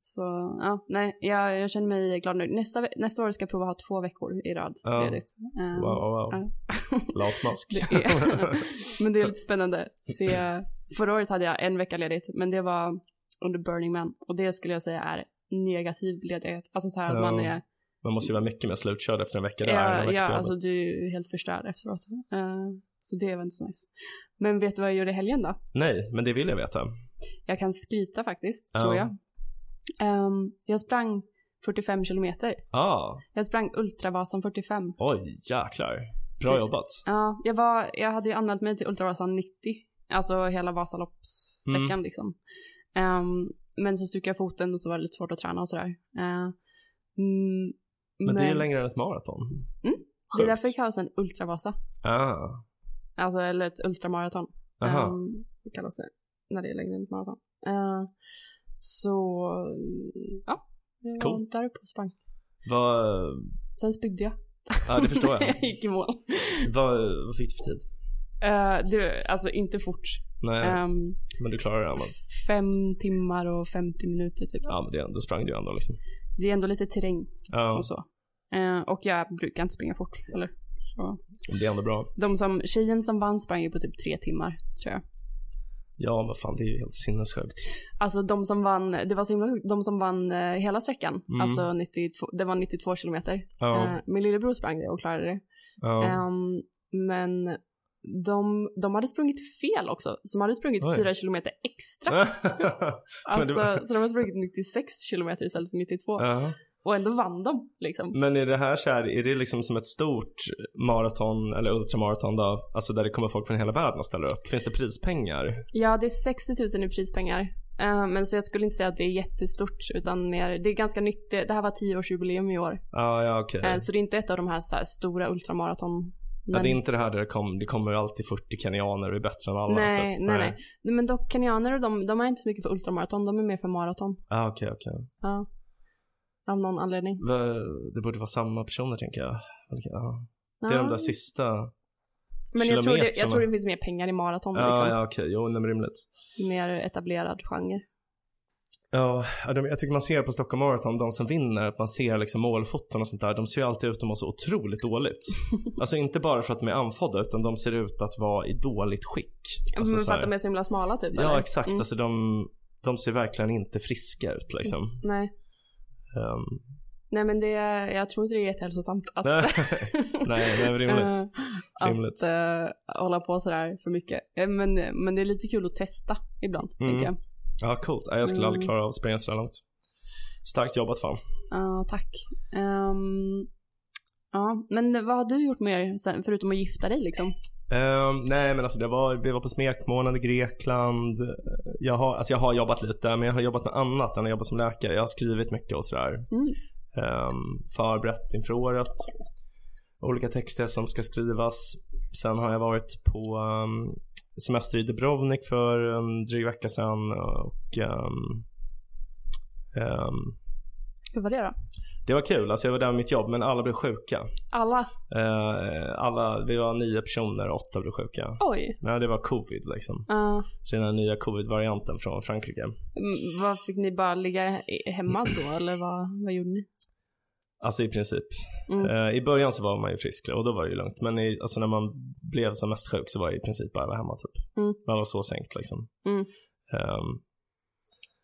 så, ja, nej, jag, jag känner mig glad nu. Nästa, ve- nästa år ska jag prova att ha två veckor i rad
Ja.
ledigt. Ehm, <laughs>
Wow, wow.
ja.
Latmask.
Det är, <laughs> men det är lite spännande. Se, förra året hade jag en vecka ledigt, men det var under Burning Man. Och det skulle jag säga är negativ ledighet. Alltså så här att
Ja,
man är,
<laughs> Man måste ju vara mycket mer slutkörd efter en vecka där. än en
ja,
vecka
ja
på jobbet.
alltså du är ju helt förstörd efteråt. Eh, så det var inte så nice. Men vet du vad jag gjorde i helgen då?
Nej, men det vill jag veta.
Jag kan skryta faktiskt,
Ja.
tror jag. Ehm, jag sprang 45 kilometer.
Ah,
Jag sprang Ultravasan 45.
oj, jäklar. Bra jobbat.
Ja, jag, var, jag hade ju anmält mig till Ultravasan 90, alltså hela Vasaloppssträckan
Mm.
liksom. Ehm, men så stukade jag foten och så var det lite svårt att träna och sådär. Eh, mm,
Men det är längre än ett maraton.
Mm, det är
Sjukt.
därför det kallas en Ultravasa,
Ah,
alltså eller ett ultramaraton.
aha.
Ehm, det kallas det när det är längre än ett maraton. Eh, så ja, jag
Coolt.
var där uppe och sprang.
Vad,
Sen spydde jag.
ja det förstår jag.
<laughs> jag gick i mål.
vad, vad fick du för tid?
Eh, det, alltså inte fort.
Nej,
Ehm,
men du klarar det ändå.
Fem timmar och 50 minuter typ.
Ja, men det, då sprang du ju ändå liksom.
Det är ändå lite terräng
Ja,
och så. Eh, och jag brukar inte springa fort. Eller? Så.
det är ändå bra.
De som, tjejen som vann sprang ju på typ tre timmar tror jag.
Ja, men fan det är ju helt sinnessjukt.
Alltså de som vann, det var så himla sjukt, de som vann eh, hela sträckan,
Mm.
alltså 92, det var 92 kilometer.
Ja,
Eh, min lillebror sprang det och klarade det.
ja.
Ehm, men de, de hade sprungit fel också, så de hade sprungit
Oj.
fyra kilometer extra.
men det
Alltså,
var-
Så de hade sprungit 96 kilometer istället för 92.
<laughs> Ja.
Och ändå vann de liksom.
Men är det här så här, är det liksom som ett stort maraton eller ultramaraton då? Alltså där det kommer folk från hela världen och ställer upp? Finns det prispengar?
Ja, det är 60 000 i prispengar. Eh, men så jag skulle inte säga att det är jättestort, utan mer, det är ganska nytt. Det det här var 10-årsjubileum i år,
Ah, ja, okej.
Eh, så det är inte ett av de här, så här stora ultramaraton.
ja, det är inte det här där det, kom, det kommer alltid 40 kenyaner och är bättre än alla.
nej,
typ.
nej, nej, Men dock, kenyaner och de, de är inte så mycket för ultramaraton, de är mer för maraton.
Ah, okej, okej.
Ja. Av någon anledning.
Va- Det borde vara samma personer tänker jag. Okej, ja. Det är de där
Ja.
sista.
men jag tror, det, jag
kilometrarna.
tror det finns mer pengar i maraton,
Ja,
liksom.
ja, okej. Jo, nej, men rimligt.
mer etablerad genre.
Ja, ja, de- jag tycker man ser på Stockholm Marathon, de som vinner, att man ser liksom målfoton och sånt där, de ser ju alltid ut att må så otroligt
<laughs>
dåligt. Alltså inte bara för att de är andfådda, utan de ser ut att vara i dåligt skick. Alltså,
men
så
Mm, för att
här,
de är så himla smala typ?
ja,
eller?
exakt.
Mm.
Alltså de, de ser verkligen inte friska ut liksom.
Nej. <laughs>
Ehm,
nej, men det, jag tror inte det är jättehälsosamt att
nej, <laughs>
<laughs>
nej, nej, rimligt.
Eh,
Rimligt.
Att eh, hålla på sådär för mycket. Eh, men, men det är lite kul att testa ibland,
Mm.
tänker jag.
Ja, coolt. Nej, jag skulle aldrig
Mm.
klara av att springa sådär långt. Starkt jobbat fan.
Ja, tack. Ehm, ja, men vad har du gjort mer sen, förutom att gifta dig liksom?
Ehm, nej men alltså det var, vi var på smekmånad i Grekland. Jag har, alltså jag har jobbat lite men jag har jobbat med annat än att jobba som läkare. Jag har skrivit mycket och sådär. Ehm, förberett inför året. Olika texter som ska skrivas. Sen har jag varit på ehm, semester i Dubrovnik för en dryg vecka sedan. Och, ehm, ehm,
Hur var det då?
det var kul, alltså jag var där med mitt jobb men alla blev sjuka.
Alla?
Eh, alla, vi var nio personer, åtta blev sjuka.
Oj.
Nej, det var covid liksom.
Ja,
Så den här nya covid-varianten från Frankrike.
mm, vad fick ni bara ligga i- hemma då eller vad, vad gjorde ni?
Alltså i princip.
Mm.
Eh, I början så var man ju frisk och då var det ju lugnt. Men i, alltså när man blev som mest sjuk så var jag i princip bara hemma typ.
Mm.
Man var så sänkt liksom.
Mm.
Ehm,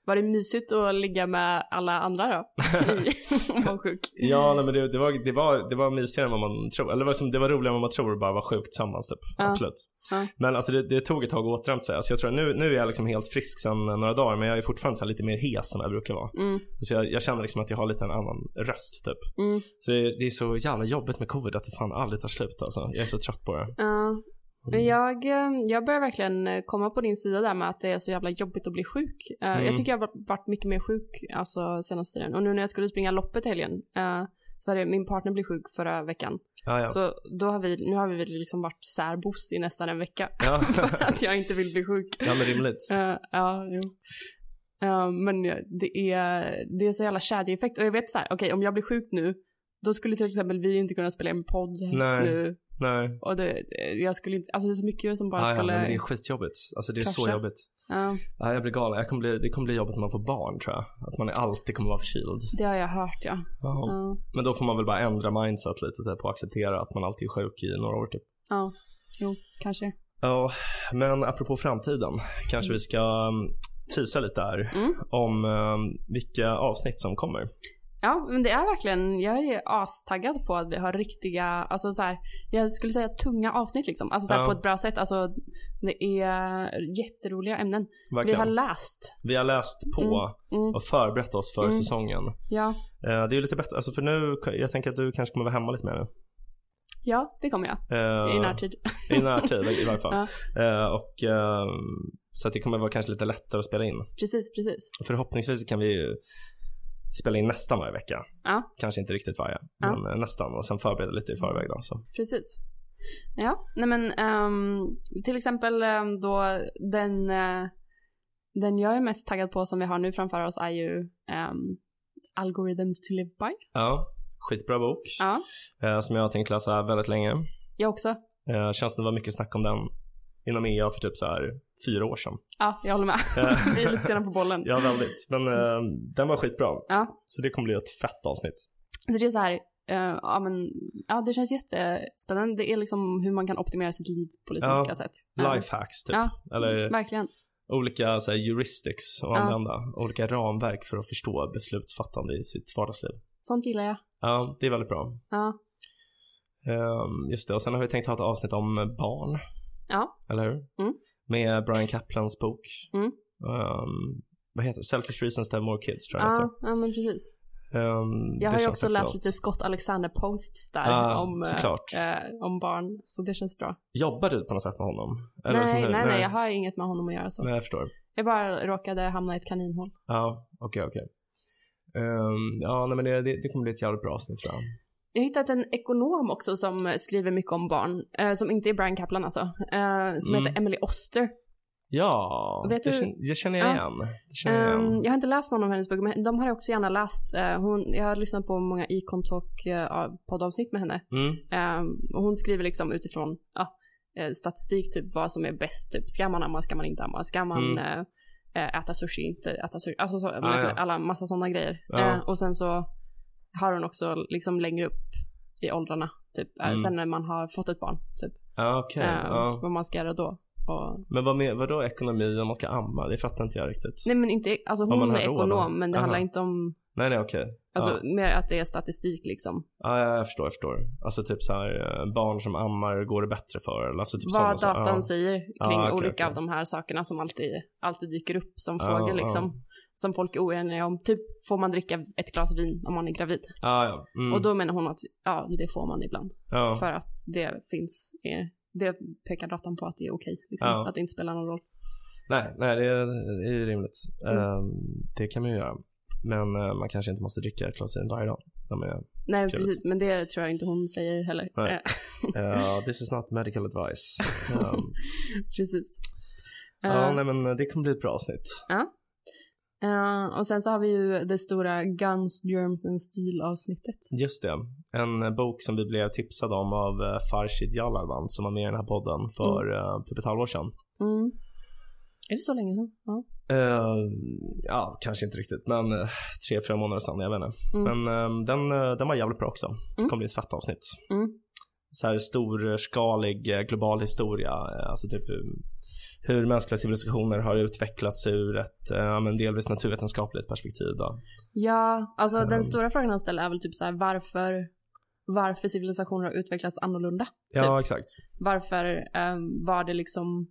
Var det mysigt att ligga med alla andra
<laughs>
då? <laughs> I- Om man var sjuk.
Ja, nej, men det, det, var, det, var, det var mysigare än vad man tror. Eller det var, som, det var roligare än vad man tror att bara vara sjukt tillsammans typ.
Ja.
Absolut.
Ja.
Men alltså det, det tog ett tag att återhämta sig. Alltså, jag tror nu, nu är jag liksom helt frisk sedan några dagar men jag är fortfarande så här lite mer hes än jag brukar vara.
Mm,
Så jag, jag känner liksom att jag har lite en annan röst typ.
mm.
Så det, det är så jävla jobbigt med covid att det fan aldrig tar slut alltså. Jag är så trött på det.
Ja.
Mm.
Men jag, eh, jag börjar verkligen eh, komma på din sida där med att det är så jävla jobbigt att bli sjuk. Eh,
Mm.
Jag tycker jag har varit- varit mycket mer sjuk alltså, senaste tiden. Och nu när jag skulle springa loppet i helgen eh, så hade min partner blivit sjuk förra veckan.
Ja, ja.
Så då har vi, nu har vi väl liksom varit särbos i nästan en
<laughs>
vecka. <laughs>
Ja.
för att jag inte vill bli sjuk.
ja, men rimligt.
Eh, ja, jo. Eh, men ja, det är, det är så jävla kedjeeffekt. Och jag vet så här, okej om jag blir sjuk nu, då skulle till exempel vi inte kunna spela en podd
Nej.
nu.
Nej.
Och det, det- jag skulle inte, alltså det är så mycket som bara
Ja, ja,
skulle...
men det är skitjobbigt. Alltså det är så
Krascha.
jobbigt.
Ja,
Ja, jag blir galen. Jag kommer bli, det kommer bli jobbigt när man får barn tror jag. Att man alltid kommer vara förkyld.
det har jag hört ja.
Ja.
Ja,
Men då får man väl bara ändra mindset lite typ, och acceptera att man alltid är sjuk i några år typ.
ja. jo, kanske.
Ja, men apropå framtiden kanske vi ska um, teasa lite här
Mm.
om um, vilka avsnitt som kommer.
Ja, men det är verkligen, jag är astaggad på att vi har riktiga, alltså så här, jag skulle säga tunga avsnitt liksom. Alltså så här,
Ja.
på ett bra sätt, alltså det är jätteroliga ämnen.
Verkligen.
Vi har läst.
läst på
Mm.
och förberett oss för
Mm.
säsongen.
Ja.
Eh, det är ju lite bättre, alltså för nu, jag tänker att du kanske kommer vara hemma lite mer nu.
ja, det kommer jag.
Eh,
I närtid. <laughs>
I närtid i varje fall. Eh, och, eh, så att det kommer vara kanske lite lättare att spela in.
Precis, precis.
Förhoppningsvis kan vi ju spela in nästan varje vecka.
Ja.
Kanske inte riktigt varje,
Ja.
men eh, nästan. Och sen förbereda lite i förväg då. Så.
Precis. Ja, nej men ehm, till exempel ehm, då den, eh, den jag är mest taggad på som vi har nu framför oss är ju ehm, Algorithms to live by.
Ja, skitbra bok.
Ja,
Eh, som jag har tänkt läsa väldigt länge.
jag också.
Eh, känns det var mycket snack om den inom EA för typ så här fyra år sedan.
Ja, jag håller med.
Eh,
<laughs> vi är lite sena på bollen.
ja, väldigt. Men eh, den var skitbra.
Mm. Ja.
Så det kommer bli ett fett avsnitt.
Så det är så här, eh, ja men, ja det känns jättespännande. Det är liksom hur man kan optimera sitt liv på lite
Ja.
olika sätt. Ja.
Lifehacks typ.
Ja,
Eller
verkligen.
olika så här, heuristics att
Ja.
använda. Olika ramverk för att förstå beslutsfattande i sitt vardagsliv.
Sånt gillar jag.
Ja, det är väldigt bra.
Ja,
Ehm, just det, och sen har vi tänkt ha ett avsnitt om barn.
Ja.
Eller hur?
Mm.
Med Brian Kaplans bok.
Mm.
Ehm, vad heter det? Selfish Reasons to Have More Kids tror jag det heter.
ja, ja men precis.
Ehm,
Jag
det
har ju
känns
också
aktuellt.
läst lite Scott Alexander posts där
Ja,
om, eh,
såklart.
eh, om barn, så det känns bra.
Jobbar du på något sätt med honom? liksom
nej,
hur?
nej, nej, jag har inget med honom att göra så.
Nej, jag förstår.
Jag bara råkade hamna i ett kaninhål.
Ja, okej, okej. Ehm, ja, nej men det, det, det kommer bli ett jävligt bra avsnitt tror jag.
Jag har hittat en ekonom också som eh, skriver mycket om barn, eh, som inte är Brian Kaplan alltså, eh, som
Mm.
heter Emily Oster.
Ja,
Vet
det,
du-
känner, jag känner
Ja.
igen. Det känner jag igen.
Ehm, jag har inte läst någon av hennes böcker, men de har jag också gärna läst. Eh, hon, jag har lyssnat på många Icon Talk eh, av- poddavsnitt med henne.
Mm,
Ehm, och hon skriver liksom utifrån ja, eh, statistik, typ vad som är bäst. Typ, ska man amma, ska man inte amma? Ska man
Mm. Ah,
eh, eh, äta sushi, inte äta sushi? Alltså så, men,
ja.
alla massa sådana grejer.
Ja.
Eh, och sen så har hon också liksom längre upp i åldrarna, typ eh,
Mm.
sen när man har fått ett barn, typ
ja, okej.
eh,
ja.
vad man ska göra då. Och,
Men vad med, vadå ekonomi om man ska amma? Det fattar inte jag riktigt.
nej men inte, alltså
Vad man
hon är
har råd
ekonom,
om.
men det
Aha.
handlar inte om,
Nej, nej, okej.
alltså
ja.
mer att det är statistik liksom.
Ja, ja, jag förstår, jag förstår. Alltså typ så här, eh, barn som ammar går det bättre för. eller Alltså typ sådana
vad
saker.
datan
ja.
säger kring
Ja, okej,
olika
okej. Ah,
av de här sakerna som alltid, alltid dyker upp som
Ja,
frågor
ja.
liksom. Som folk är oeniga om. Typ, får man dricka ett glas vin om man är gravid?
Ja, ja. Mm.
Och då menar hon att ja, det får man ibland.
ja.
För att det finns, eh, det pekar datan på att det är okej. Liksom,
Ja.
Att det inte spelar någon roll.
Nej, nej det, är, det är ju rimligt.
Mm.
Ehm, det kan man ju göra. Men eh, man kanske inte måste dricka ett glas vin varje dag. Ja, men,
Nej,
Trevligt.
precis. Men det tror jag inte hon säger heller.
Nej.
Eh, <laughs>
eh, this is not medical advice. Ehm,
precis.
ja,
Eh,
nej, men eh, det kommer bli ett bra avsnitt.
eh, och sen så har vi ju det stora Guns, Germs and Steel avsnittet.
Just det. En eh, bok som vi blev tipsade om av eh, Farshid Jallarvan som var med i den här podden för eh, typ ett halvår sedan.
Mm. Är det så länge sedan? Ja.
Eh, ja, kanske inte riktigt, men eh, tre, fyra månader sedan, jag vet inte.
Mm.
Men eh, den, eh, den var jävligt bra också. Det
Mm.
kommer bli ett fett avsnitt.
Mm.
Så här storskalig eh, global historia, eh, alltså typ eh, hur mänskliga civilisationer har utvecklats ur ett eh, ja, men delvis naturvetenskapligt perspektiv. Då.
Ja, alltså
Ehm.
den stora frågan han ställer är väl typ så här varför, varför civilisationer har utvecklats annorlunda.
Ja, exakt.
Varför ehm, var det liksom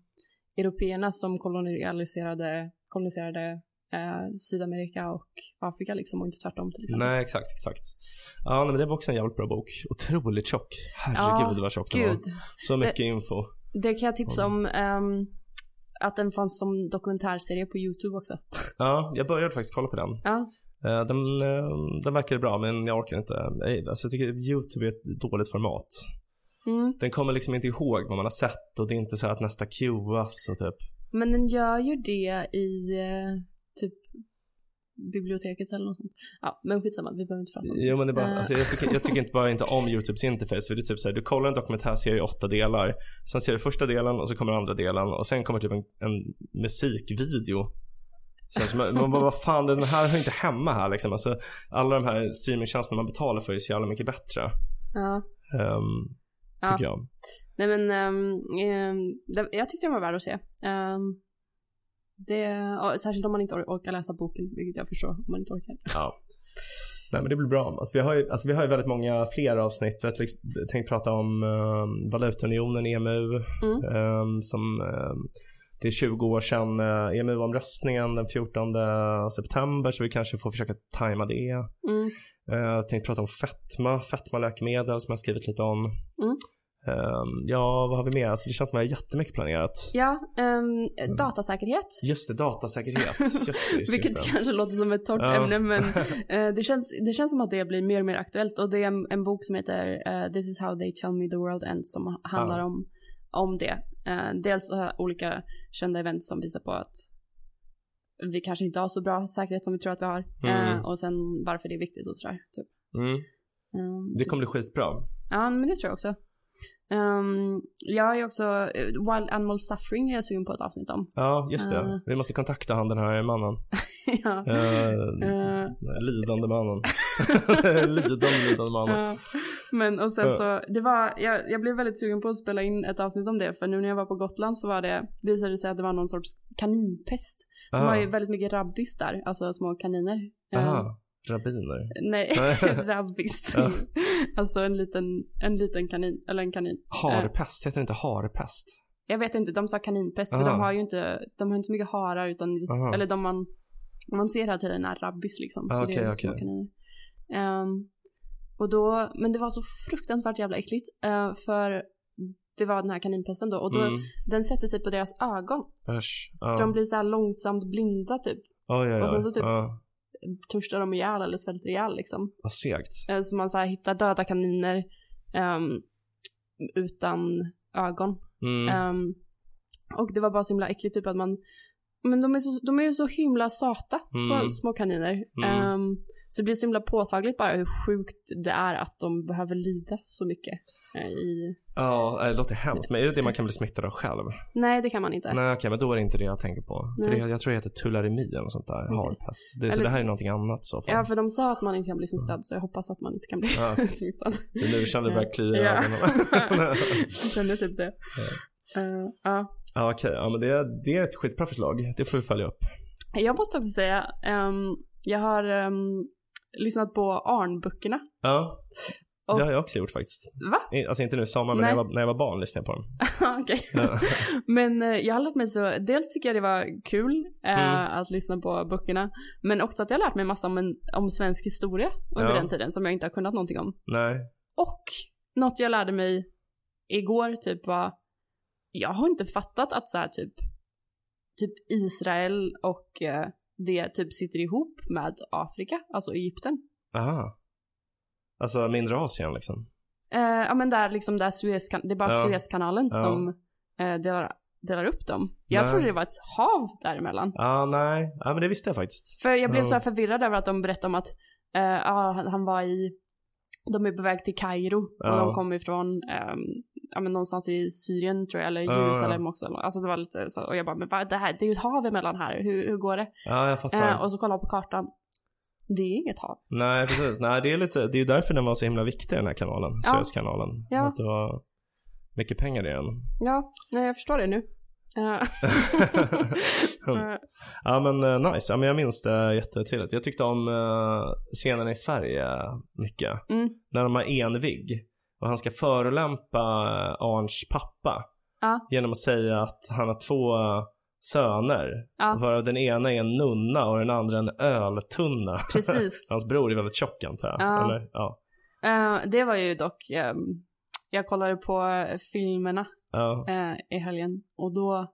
européerna som kolonialiserade, koloniserade eh, Sydamerika och Afrika liksom och inte tvärtom till exempel.
Nej, exakt, exakt. Ja, nej, men det var också en jävligt bra bok. Otroligt tjock. Herregud
Ja,
vad tjock den var.
Gud,
Så mycket info.
det kan jag tipsa om ehm, att den fanns som dokumentärserie på YouTube också.
Ja, jag började faktiskt kolla på den.
Ja.
Eh, Den, eh, den verkade bra men jag orkar inte. Nej, Alltså, jag tycker YouTube är ett dåligt format.
Mm.
Den kommer liksom inte ihåg vad man har sett och det är inte så här att nästa cueas och typ.
Men den gör ju det i eh, typ biblioteket eller något sånt. Ja, men skitsamma, vi behöver inte prata om det.
Jo men det är bara,
Eh.
alltså, jag, tycker, jag tycker inte bara inte om YouTubes interface för det är typ så här, du kollar en dokumentärserie i åtta delar. Sen ser du första delen och så kommer andra delen och sen kommer typ en, en musikvideo. Sen så man, man bara, vad fan den här hör inte hemma här liksom. Alltså, alla de här streamingtjänsterna man betalar för är så jävla mycket bättre.
Ja.
ehm,
Ja.
Tycker jag.
Nej men ehm, ehm, det- jag tyckte den var värd att se. Ehm, det, ja, särskilt om man inte or- orkar läsa boken, vilket jag förstår om man inte orkar.
Ja. Nej men det blir bra. Alltså, vi, har ju, alltså, vi har ju väldigt många fler avsnitt. Jag tänkte prata om eh, valutaunionen, EMU,
Mm.
eh, som eh, det är 20 år sedan eh, EMU-omröstningen den 14 september så vi kanske får försöka tajma det.
Mm.
Eh, Jag tänkte prata om fetma, fetmaläkemedel som jag har skrivit lite om.
Mm.
Eh, ja, vad har vi mer? Alltså, det känns som att jag har jättemycket planerat.
Ja, ehm, datasäkerhet.
Just det,
<laughs>
datasäkerhet. Just det, just det, just
Vilket
det.
kanske låter som ett torrt
Ja. <laughs>
ämne men eh, det, känns, det känns som att det blir mer och mer aktuellt. Och det är en, en bok som heter eh, This is how they tell me the world ends som handlar
Ah.
om, om det. Eh, dels så här olika kända event som visar på att vi kanske inte har så bra säkerhet som vi tror att vi har. Eh,
Mm.
och sen varför det är viktigt och sådär. Typ.
Mm.
Ehm,
Det
så-
kommer bli skitbra.
Ja, men det tror jag också. Ehm, jag är också, eh, Wild Animal Suffering är jag sugen på ett avsnitt om. <laughs>
Ja, just det.
Eh.
Vi måste kontakta han den här mannen.
<laughs> ja.
Eh,
Eh,
lidande
<laughs>
mannen. lidande, lidande mannen.
Ja. Men och sen
Ja.
så, det var, jag, jag blev väldigt sugen på att spela in ett avsnitt om det för nu när jag var på Gotland så var det, visade det sig att det var någon sorts kaninpest. Det
Ah,
var ju väldigt mycket rabbis där, alltså små kaniner. Eh,
aha, rabbiner. <laughs>
nej, <laughs> rabbis.
Ja.
Alltså en liten, en liten kanin, eller en kanin.
Harpest, heter det inte harpest?
Jag vet inte, de sa kaninpest
Ah.
för de har ju inte, de har inte så mycket harar utan just,
Aha.
eller de man, man ser hela tiden är rabbis liksom.
Ah,
så det är
okej,
små
okej.
kaniner. Ehm, och då, men det var så fruktansvärt jävla äckligt eh, för det var den här kaninpesten då och då,
Mm. Ah.
den sätter sig på deras ögon.
Usch.
Så de blir så här långsamt blinda typ.
Oj, oj, oj.
och sen så typ-
Ja.
Törstar de ihjäl eller svälter ihjäl liksom.
Vad segt.
Eh, så man så här hittar döda kaniner ehm, utan ögon.
Mm.
Ehm, och det var bara så himla äckligt typ att man, men de är, så, de är ju så himla söta,
Mm.
så små kaniner.
Mm.
Ehm, så det blir så himla påtagligt bara hur sjukt det är att de behöver lida så mycket. eh, I...
Ja, det låter hemskt. Men är det det man kan bli smittad av själv?
Nej, det kan man inte.
Nej, okej, men då är det inte det jag tänker på. För
Nej. Mm.
det, jag tror det heter tularemi eller något sånt där. Harpest. Det, så
Eller-
det här är någonting annat i så fall.
Ja, för de sa att man inte kan bli smittad, så jag hoppas att man inte kan bli
Mm. Ja.
<laughs> smittad.
Det är nu känner det börjar klia i
Ja.
ögonen.
<laughs>
<laughs>
Jag kände typ det. Eh, ja.
Ja, okej. Ja, men det, det är ett skitbra förslag. Det får vi följa upp.
Jag måste också säga, ehm, jag har ehm, lyssnat på Arnböckerna.
Ja.
Och-
Det har jag också gjort faktiskt.
Va? <laughs>
I- Alltså inte nu i sommar, men när
Nej.
jag, var, när jag var barn lyssnade jag på dem.
Okej. <laughs>
Ja.
Men eh, jag har lärt mig så, dels tycker jag det var kul eh,
Mm.
att lyssna på böckerna. Men också att jag har lärt mig massa om, en, om svensk historia under
Ja.
den tiden som jag inte har kunnat någonting om.
Nej.
Och något jag lärde mig igår typ var, jag har inte fattat att så här typ, typ Israel och eh, det typ sitter ihop med Afrika, alltså Egypten.
Aha. Alltså mindre Asien liksom.
Eh, ja men där liksom där Suezkan- det är bara
Ja.
Suezkanalen
Ja.
som eh, delar, delar upp dem. Jag
Nej.
trodde det var ett hav däremellan.
Ja, nej. Ja, men det visste jag faktiskt.
För jag blev
Ja.
så här förvirrad över att de berättade om att eh, ja, han, han var i, de är på väg till Kairo och
Ja.
de kom ifrån ehm, ja, men någonstans i Syrien tror jag eller
Ja, ja, ja.
Jerusalem också. Alltså det var lite så och jag bara men vad, det, här, det är ju ett hav emellan här, hur, hur går det?
Ja, jag fattar.
Eh, och så kollade jag på kartan. Det är inget hav.
Nej, precis. Nej, det är lite, det är ju därför den var så himla viktig den här kanalen.
Ja.
Suezkanalen.
Ja. <laughs>
Att det var mycket pengar i den.
Ja, nej, jag förstår det nu. Eh, <laughs> eh,
Ja men eh, nice, ja, men jag minns det jättetrevligt. Jag tyckte om eh, scenerna i Sverige mycket.
Mm.
När de har Envig och han ska förolämpa eh, Arns pappa
Ja.
genom att säga att han har två eh, söner.
Ja.
<laughs> Varav den ena är en nunna och den andra en öltunna.
Precis.
Hans bror är väldigt tjock antar jag.
Ja.
Eller? Ja.
Eh, det var ju dock, ehm, jag kollade på eh, filmerna
Ja. <laughs>
eh, i helgen och då,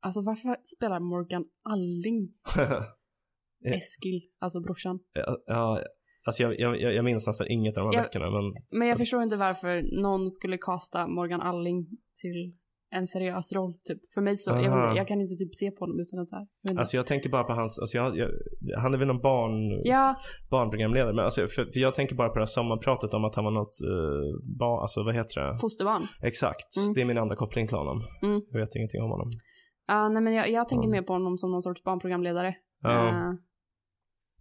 alltså varför spelar Morgan Alling
Eh.
Eskil, alltså brorsan?
ja, ja. Alltså jag, jag, jag jag minns nästan inget av de här
Jag-
böckerna men
Men jag förstår inte varför någon skulle kasta Morgan Alling till en seriös roll typ. För mig så, jag, vet
Aha.
inte, jag kan inte typ se på honom utan att så här. jag vet inte.
alltså jag tänker bara på hans, alltså jag, jag, han är väl någon barn,
ja,
barnprogramledare. Men alltså, för, för jag tänker bara på det här sommarpratet om att han var något eh, barn, alltså vad heter det?
fosterbarn.
Exakt,
Mm.
det är min enda koppling till honom.
Mm.
Jag vet ingenting om honom.
Ja, nej men jag, jag tänker
Ja.
mer på honom som någon sorts barnprogramledare.
Ja,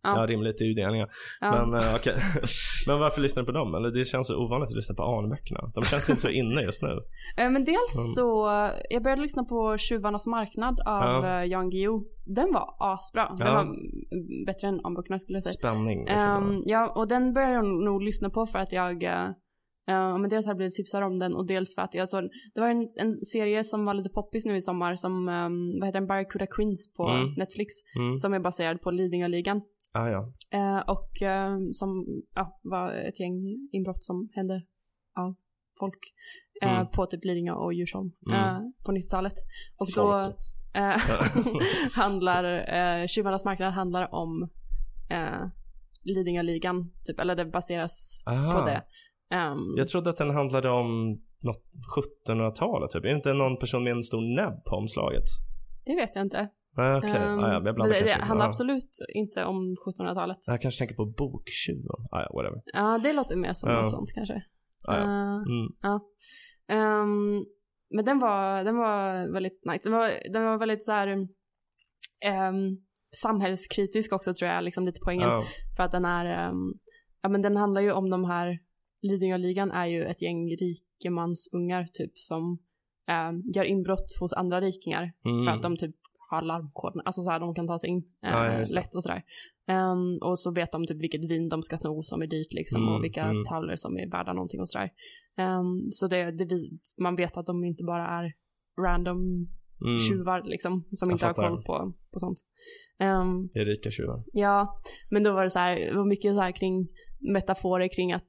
Eh,
ja.
ja.
rimligt, det är ju delningar.
ja.
Men uh, okej. <laughs> men varför lyssnar du på dem? Eller det känns så ovanligt att lyssna på Arnböckerna. De känns inte så inne just
<laughs>
nu.
Eh, Men
Mm.
dels så, jag började lyssna på Tjuvarnas marknad av
Ja.
eh, Jan Guillou. Den var asbra. Den
Ja.
var mm, bättre än Arnböckerna skulle jag säga.
Spänning liksom.
Ehm, ja, och den började jag nog lyssna på för att jag eh, eh, men dels har jag blivit tipsad om den och dels för att jag såg Det var en, en serie som var lite poppis nu i sommar som, um, vad heter den, Barracuda Queens på
Mm.
Netflix.
mm.
Som är baserad på Lidingöligan.
ah, ja.
Eh, och eh, som ja, var ett gäng inbrott som hände av folk eh,
Mm.
på typ Lidingö och Djursholm
Mm.
eh, på 90-talet. Och då
Folket.
eh, <laughs> handlar, eh, Tjuvarnas marknad handlar om eh, Lidingöligan, typ, eller det baseras
Aha.
på det. Ehm,
Jag trodde att den handlade om något 1700-talet typ. Är det inte någon person med en stor näbb på omslaget?
det vet jag inte.
Nej okej,
Ehm,
ah, ja, jag blandar
det, det
kanske.
handlar
Ah.
absolut inte om 1700-talet.
Jag kanske tänker på boktjuven. Ah, ja, whatever.
Ja, det låter mer som
Ja.
något sånt kanske.
Ah, ja.
Eh,
Mm.
Ehm, men den var, den var väldigt nice. Den var, den var väldigt så här ehm, samhällskritisk också tror jag, liksom lite poängen.
Ja.
För att den är, ehm, ja men den handlar ju om de här, Lidingöligan är ju ett gäng rikemansungar typ som ehm, gör inbrott hos andra rikingar
Mm.
för att de typ har larmkoden, alltså så här de kan ta sig in eh,
Ja, ja, just det.
lätt och sådär. Ehm, och så vet de typ vilket vin de ska sno som är dyrt liksom
Mm,
och vilka
mm.
tavlor som är värda någonting och sådär. Ehm, så det, det, vi- man vet att de inte bara är random
Mm.
tjuvar liksom som
Jag
inte har
fattar.
koll på, på sånt. Ehm,
Det är rika tjuvar.
ja, men då var det så här, det var mycket så här kring metaforer kring att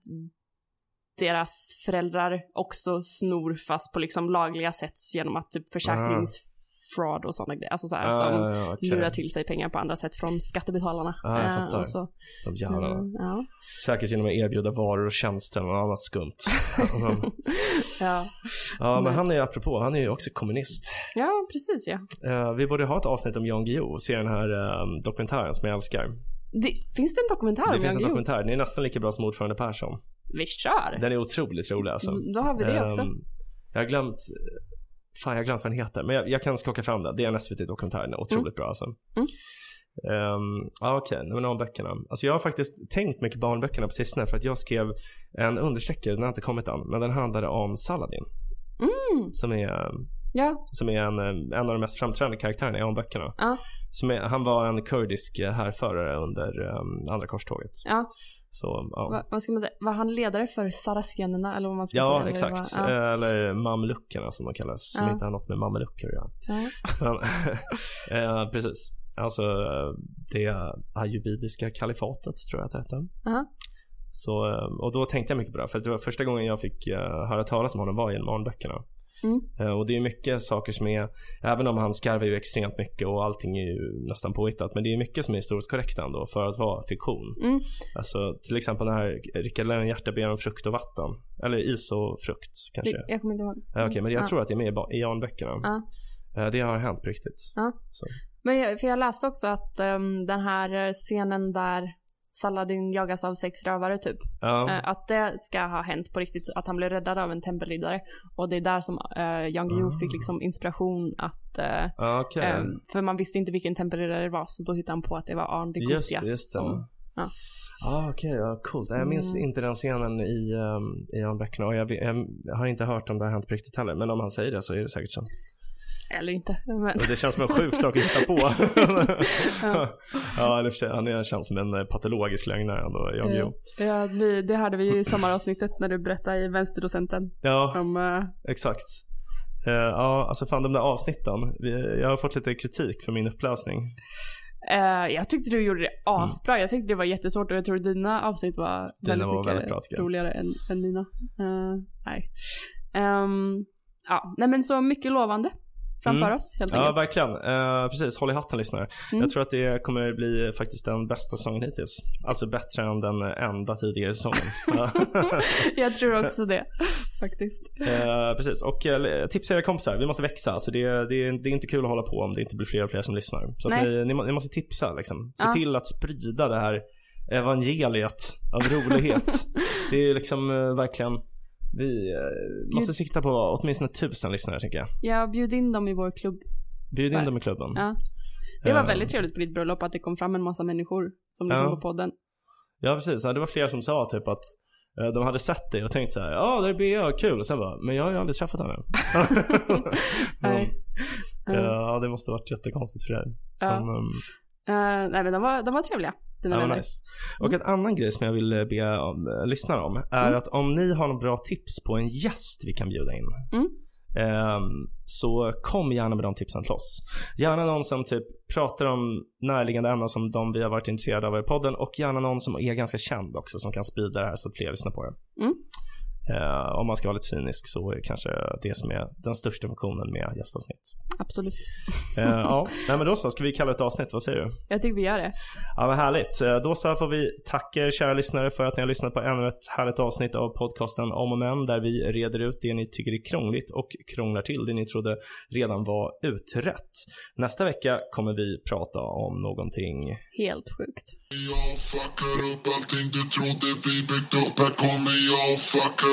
deras föräldrar också snor fast på liksom lagliga sätt genom att typ försäkringsfraud och sådana grejer. Alltså så här, att de
ja, ja, Ah, okej.
lurar till sig pengar på andra sätt från skattebetalarna.
Ah, jag
Eh,
fattar.
och så,
De jävlarna.
mm, ja.
Säkert genom att erbjuda varor och tjänster och något annat
<laughs>
skumt. Mm.
ja.
ja, men
Nej.
han är ju apropå, han är ju också kommunist.
ja, precis ja.
Eh, vi borde ha ett avsnitt om Jan Guillou och se den här eh, dokumentären som jag älskar.
Det, finns det en dokumentär
det
om
finns
Ah, Jan
en
Guillou?
dokumentär, den är nästan lika bra som Ordförande Persson.
Vi kör! Mm,
Den är otroligt rolig alltså.
Då har vi det också.
Ehm, jag har glömt, fan jag har glömt vad den heter, men jag, jag kan skaka fram den. Det är en SVT-dokumentär, den är otroligt bra alltså.
Mm.
Ehm, ja okej, Nej, men om böckerna. Alltså jag har faktiskt tänkt mycket på barnböckerna på sistone för att jag skrev en understreckare, den har inte kommit än, men den handlade om Saladin.
Mm.
Som är,
Ja,
som är en, eh, en av de mest framträdande karaktärerna i barnböckerna.
Ja.
Som är, han var en kurdisk eh, härförare under ehm, andra korståget.
ja.
Så, ja.
Va, vad ska man säga? Var han ledare för saracenerna eller vad man ska säga?
Ja,
Eller
exakt. Eh.
vad- ja.
Eller mamluckerna som de kallas, som
Ja.
inte har något med mamelucker
<laughs>
att göra.
Ja.
Men, <laughs> eh, precis. Alltså eh, det ayyubidiska kalifatet tror jag att det hette.
Aha.
Så, eh, och då tänkte jag mycket på det här, för att det var första gången jag fick eh, höra talas om honom var genom barnböckerna.
Mm.
Eh, Och det är mycket saker som är, även om han skarvar ju extremt mycket och allting är ju nästan påhittat, men det är mycket som är historiskt korrekt ändå för att vara fiktion.
Mm.
Alltså till exempel den här Rickard Lejonhjärta ber om frukt och vatten, eller is och frukt kanske.
Det- Jag kommer inte ihåg.
Ja, Eh, Okej, men jag
Ja.
tror att det är med i ba- i Jan-böckerna.
Ja.
Eh, Det har hänt på riktigt.
Ja.
Så.
Men jag, för jag läste också att ehm, den här eh, scenen där Saladin jagas av sex rövare typ.
Ja.
Eh, att det ska ha hänt på riktigt, att han blev räddad av en tempelriddare. Och det är där som uh, Jan Guillou
Ah.
fick liksom inspiration att, eh,
Ja, Okej,
eh, för man visste inte vilken tempelriddare det var, så då hittade han på att det var Arn de
just
Gothia
det, just det.
som- ja.
Ah, Okej, ja, coolt. Nej, Jag minns
Mm.
inte den scenen i, um, i Jan-böckerna och jag, vet- jag har inte hört om det har hänt på riktigt heller. Men om han säger det så är det säkert så.
Eller inte. <laughs> Men,
Och det känns som en sjuk sak att hitta på.
<laughs> Ja.
ja, eller för sig, han är- känns som en eh, patologisk lögnare ändå, Jan Guillou.
ja, vi, det hade vi ju i sommaravsnittet när du berättade i vänsterdocenten
Ja,
om eh,
exakt. Eh, Ja, alltså fan de där avsnitten. Vi- Jag har fått lite kritik för min uppläsning.
Eh, jag tyckte du gjorde det asbra. Jag tyckte det var jättesvårt och jag tror dina avsnitt var
Mm. Dina
väldigt
var
mycket
väldigt bra, tycker jag.
roligare än, än mina. Eh, nej. Ehm, ja, nej men så mycket lovande framför
Mm.
oss helt
Ja,
enkelt.
verkligen. Eh, precis, håll i hatten lyssnare.
Mm.
Jag tror att det kommer bli faktiskt den bästa säsongen hittills. Alltså bättre än den enda tidigare
<laughs>
säsongen.
jag tror också det <laughs> faktiskt.
<laughs> Eh, precis, och eh, tipsa era kompisar. Vi måste växa. Så det, det, det är inte kul att hålla på om det inte blir fler och fler som lyssnar. Så att
Nej.
ni, ni, må- ni måste tipsa liksom. Se
Ja.
till att sprida det här evangeliet av
<laughs>
rolighet. det är liksom eh, verkligen, vi eh, måste sikta på åtminstone tusen lyssnare tänker jag.
Jag bjöd in dem i vår klubb.
Bjud in
Ver-
dem i klubben.
Ja. Det var
Eh,
väldigt trevligt på ditt bröllop att det kom fram en massa människor som lyssnade
Ja.
på podden.
Ja precis, Ja, det var flera som sa typ att eh, de hade sett dig och tänkt så här, ja där är BA, kul. Och sen bara, men jag har ju aldrig träffat henne. <laughs> Men,
<laughs> Nej.
eh,
Eh,
Ja, det måste varit jättekonstigt för dig.
ja.
Men, ehm,
Eh, nej men de var, de var trevliga, dina
Ja, vad
vänner.
nice. Och en annan grej som jag vill eh, be om, eh, lyssnarna om är
Mm.
att om ni har några bra tips på en gäst vi kan bjuda in.
Mm.
ehm, så kom gärna med de tipsen till oss. Gärna någon som typ pratar om närliggande ämnen som de vi har varit intresserade av i podden och gärna någon som är ganska känd också som kan sprida det här så att fler lyssnar på det.
Mm.
Eh, om man ska vara lite cynisk så är det kanske det som är den största funktionen med gästavsnitt.
Absolut.
Eh,
<laughs>
ja, Nej, men då så, ska vi kalla det ett avsnitt, vad säger du?
Jag tycker vi gör det.
Ja, vad härligt. Eh, Då så här får vi tacka er kära lyssnare för att ni har lyssnat på ännu ett härligt avsnitt av podcasten Om och Män där vi reder ut det ni tycker är krångligt och krånglar till det ni trodde redan var utrett. Nästa vecka kommer vi prata om någonting
Helt sjukt.
Jag fuckar upp allting du trodde vi byggt upp. Här kommer jag och fuckar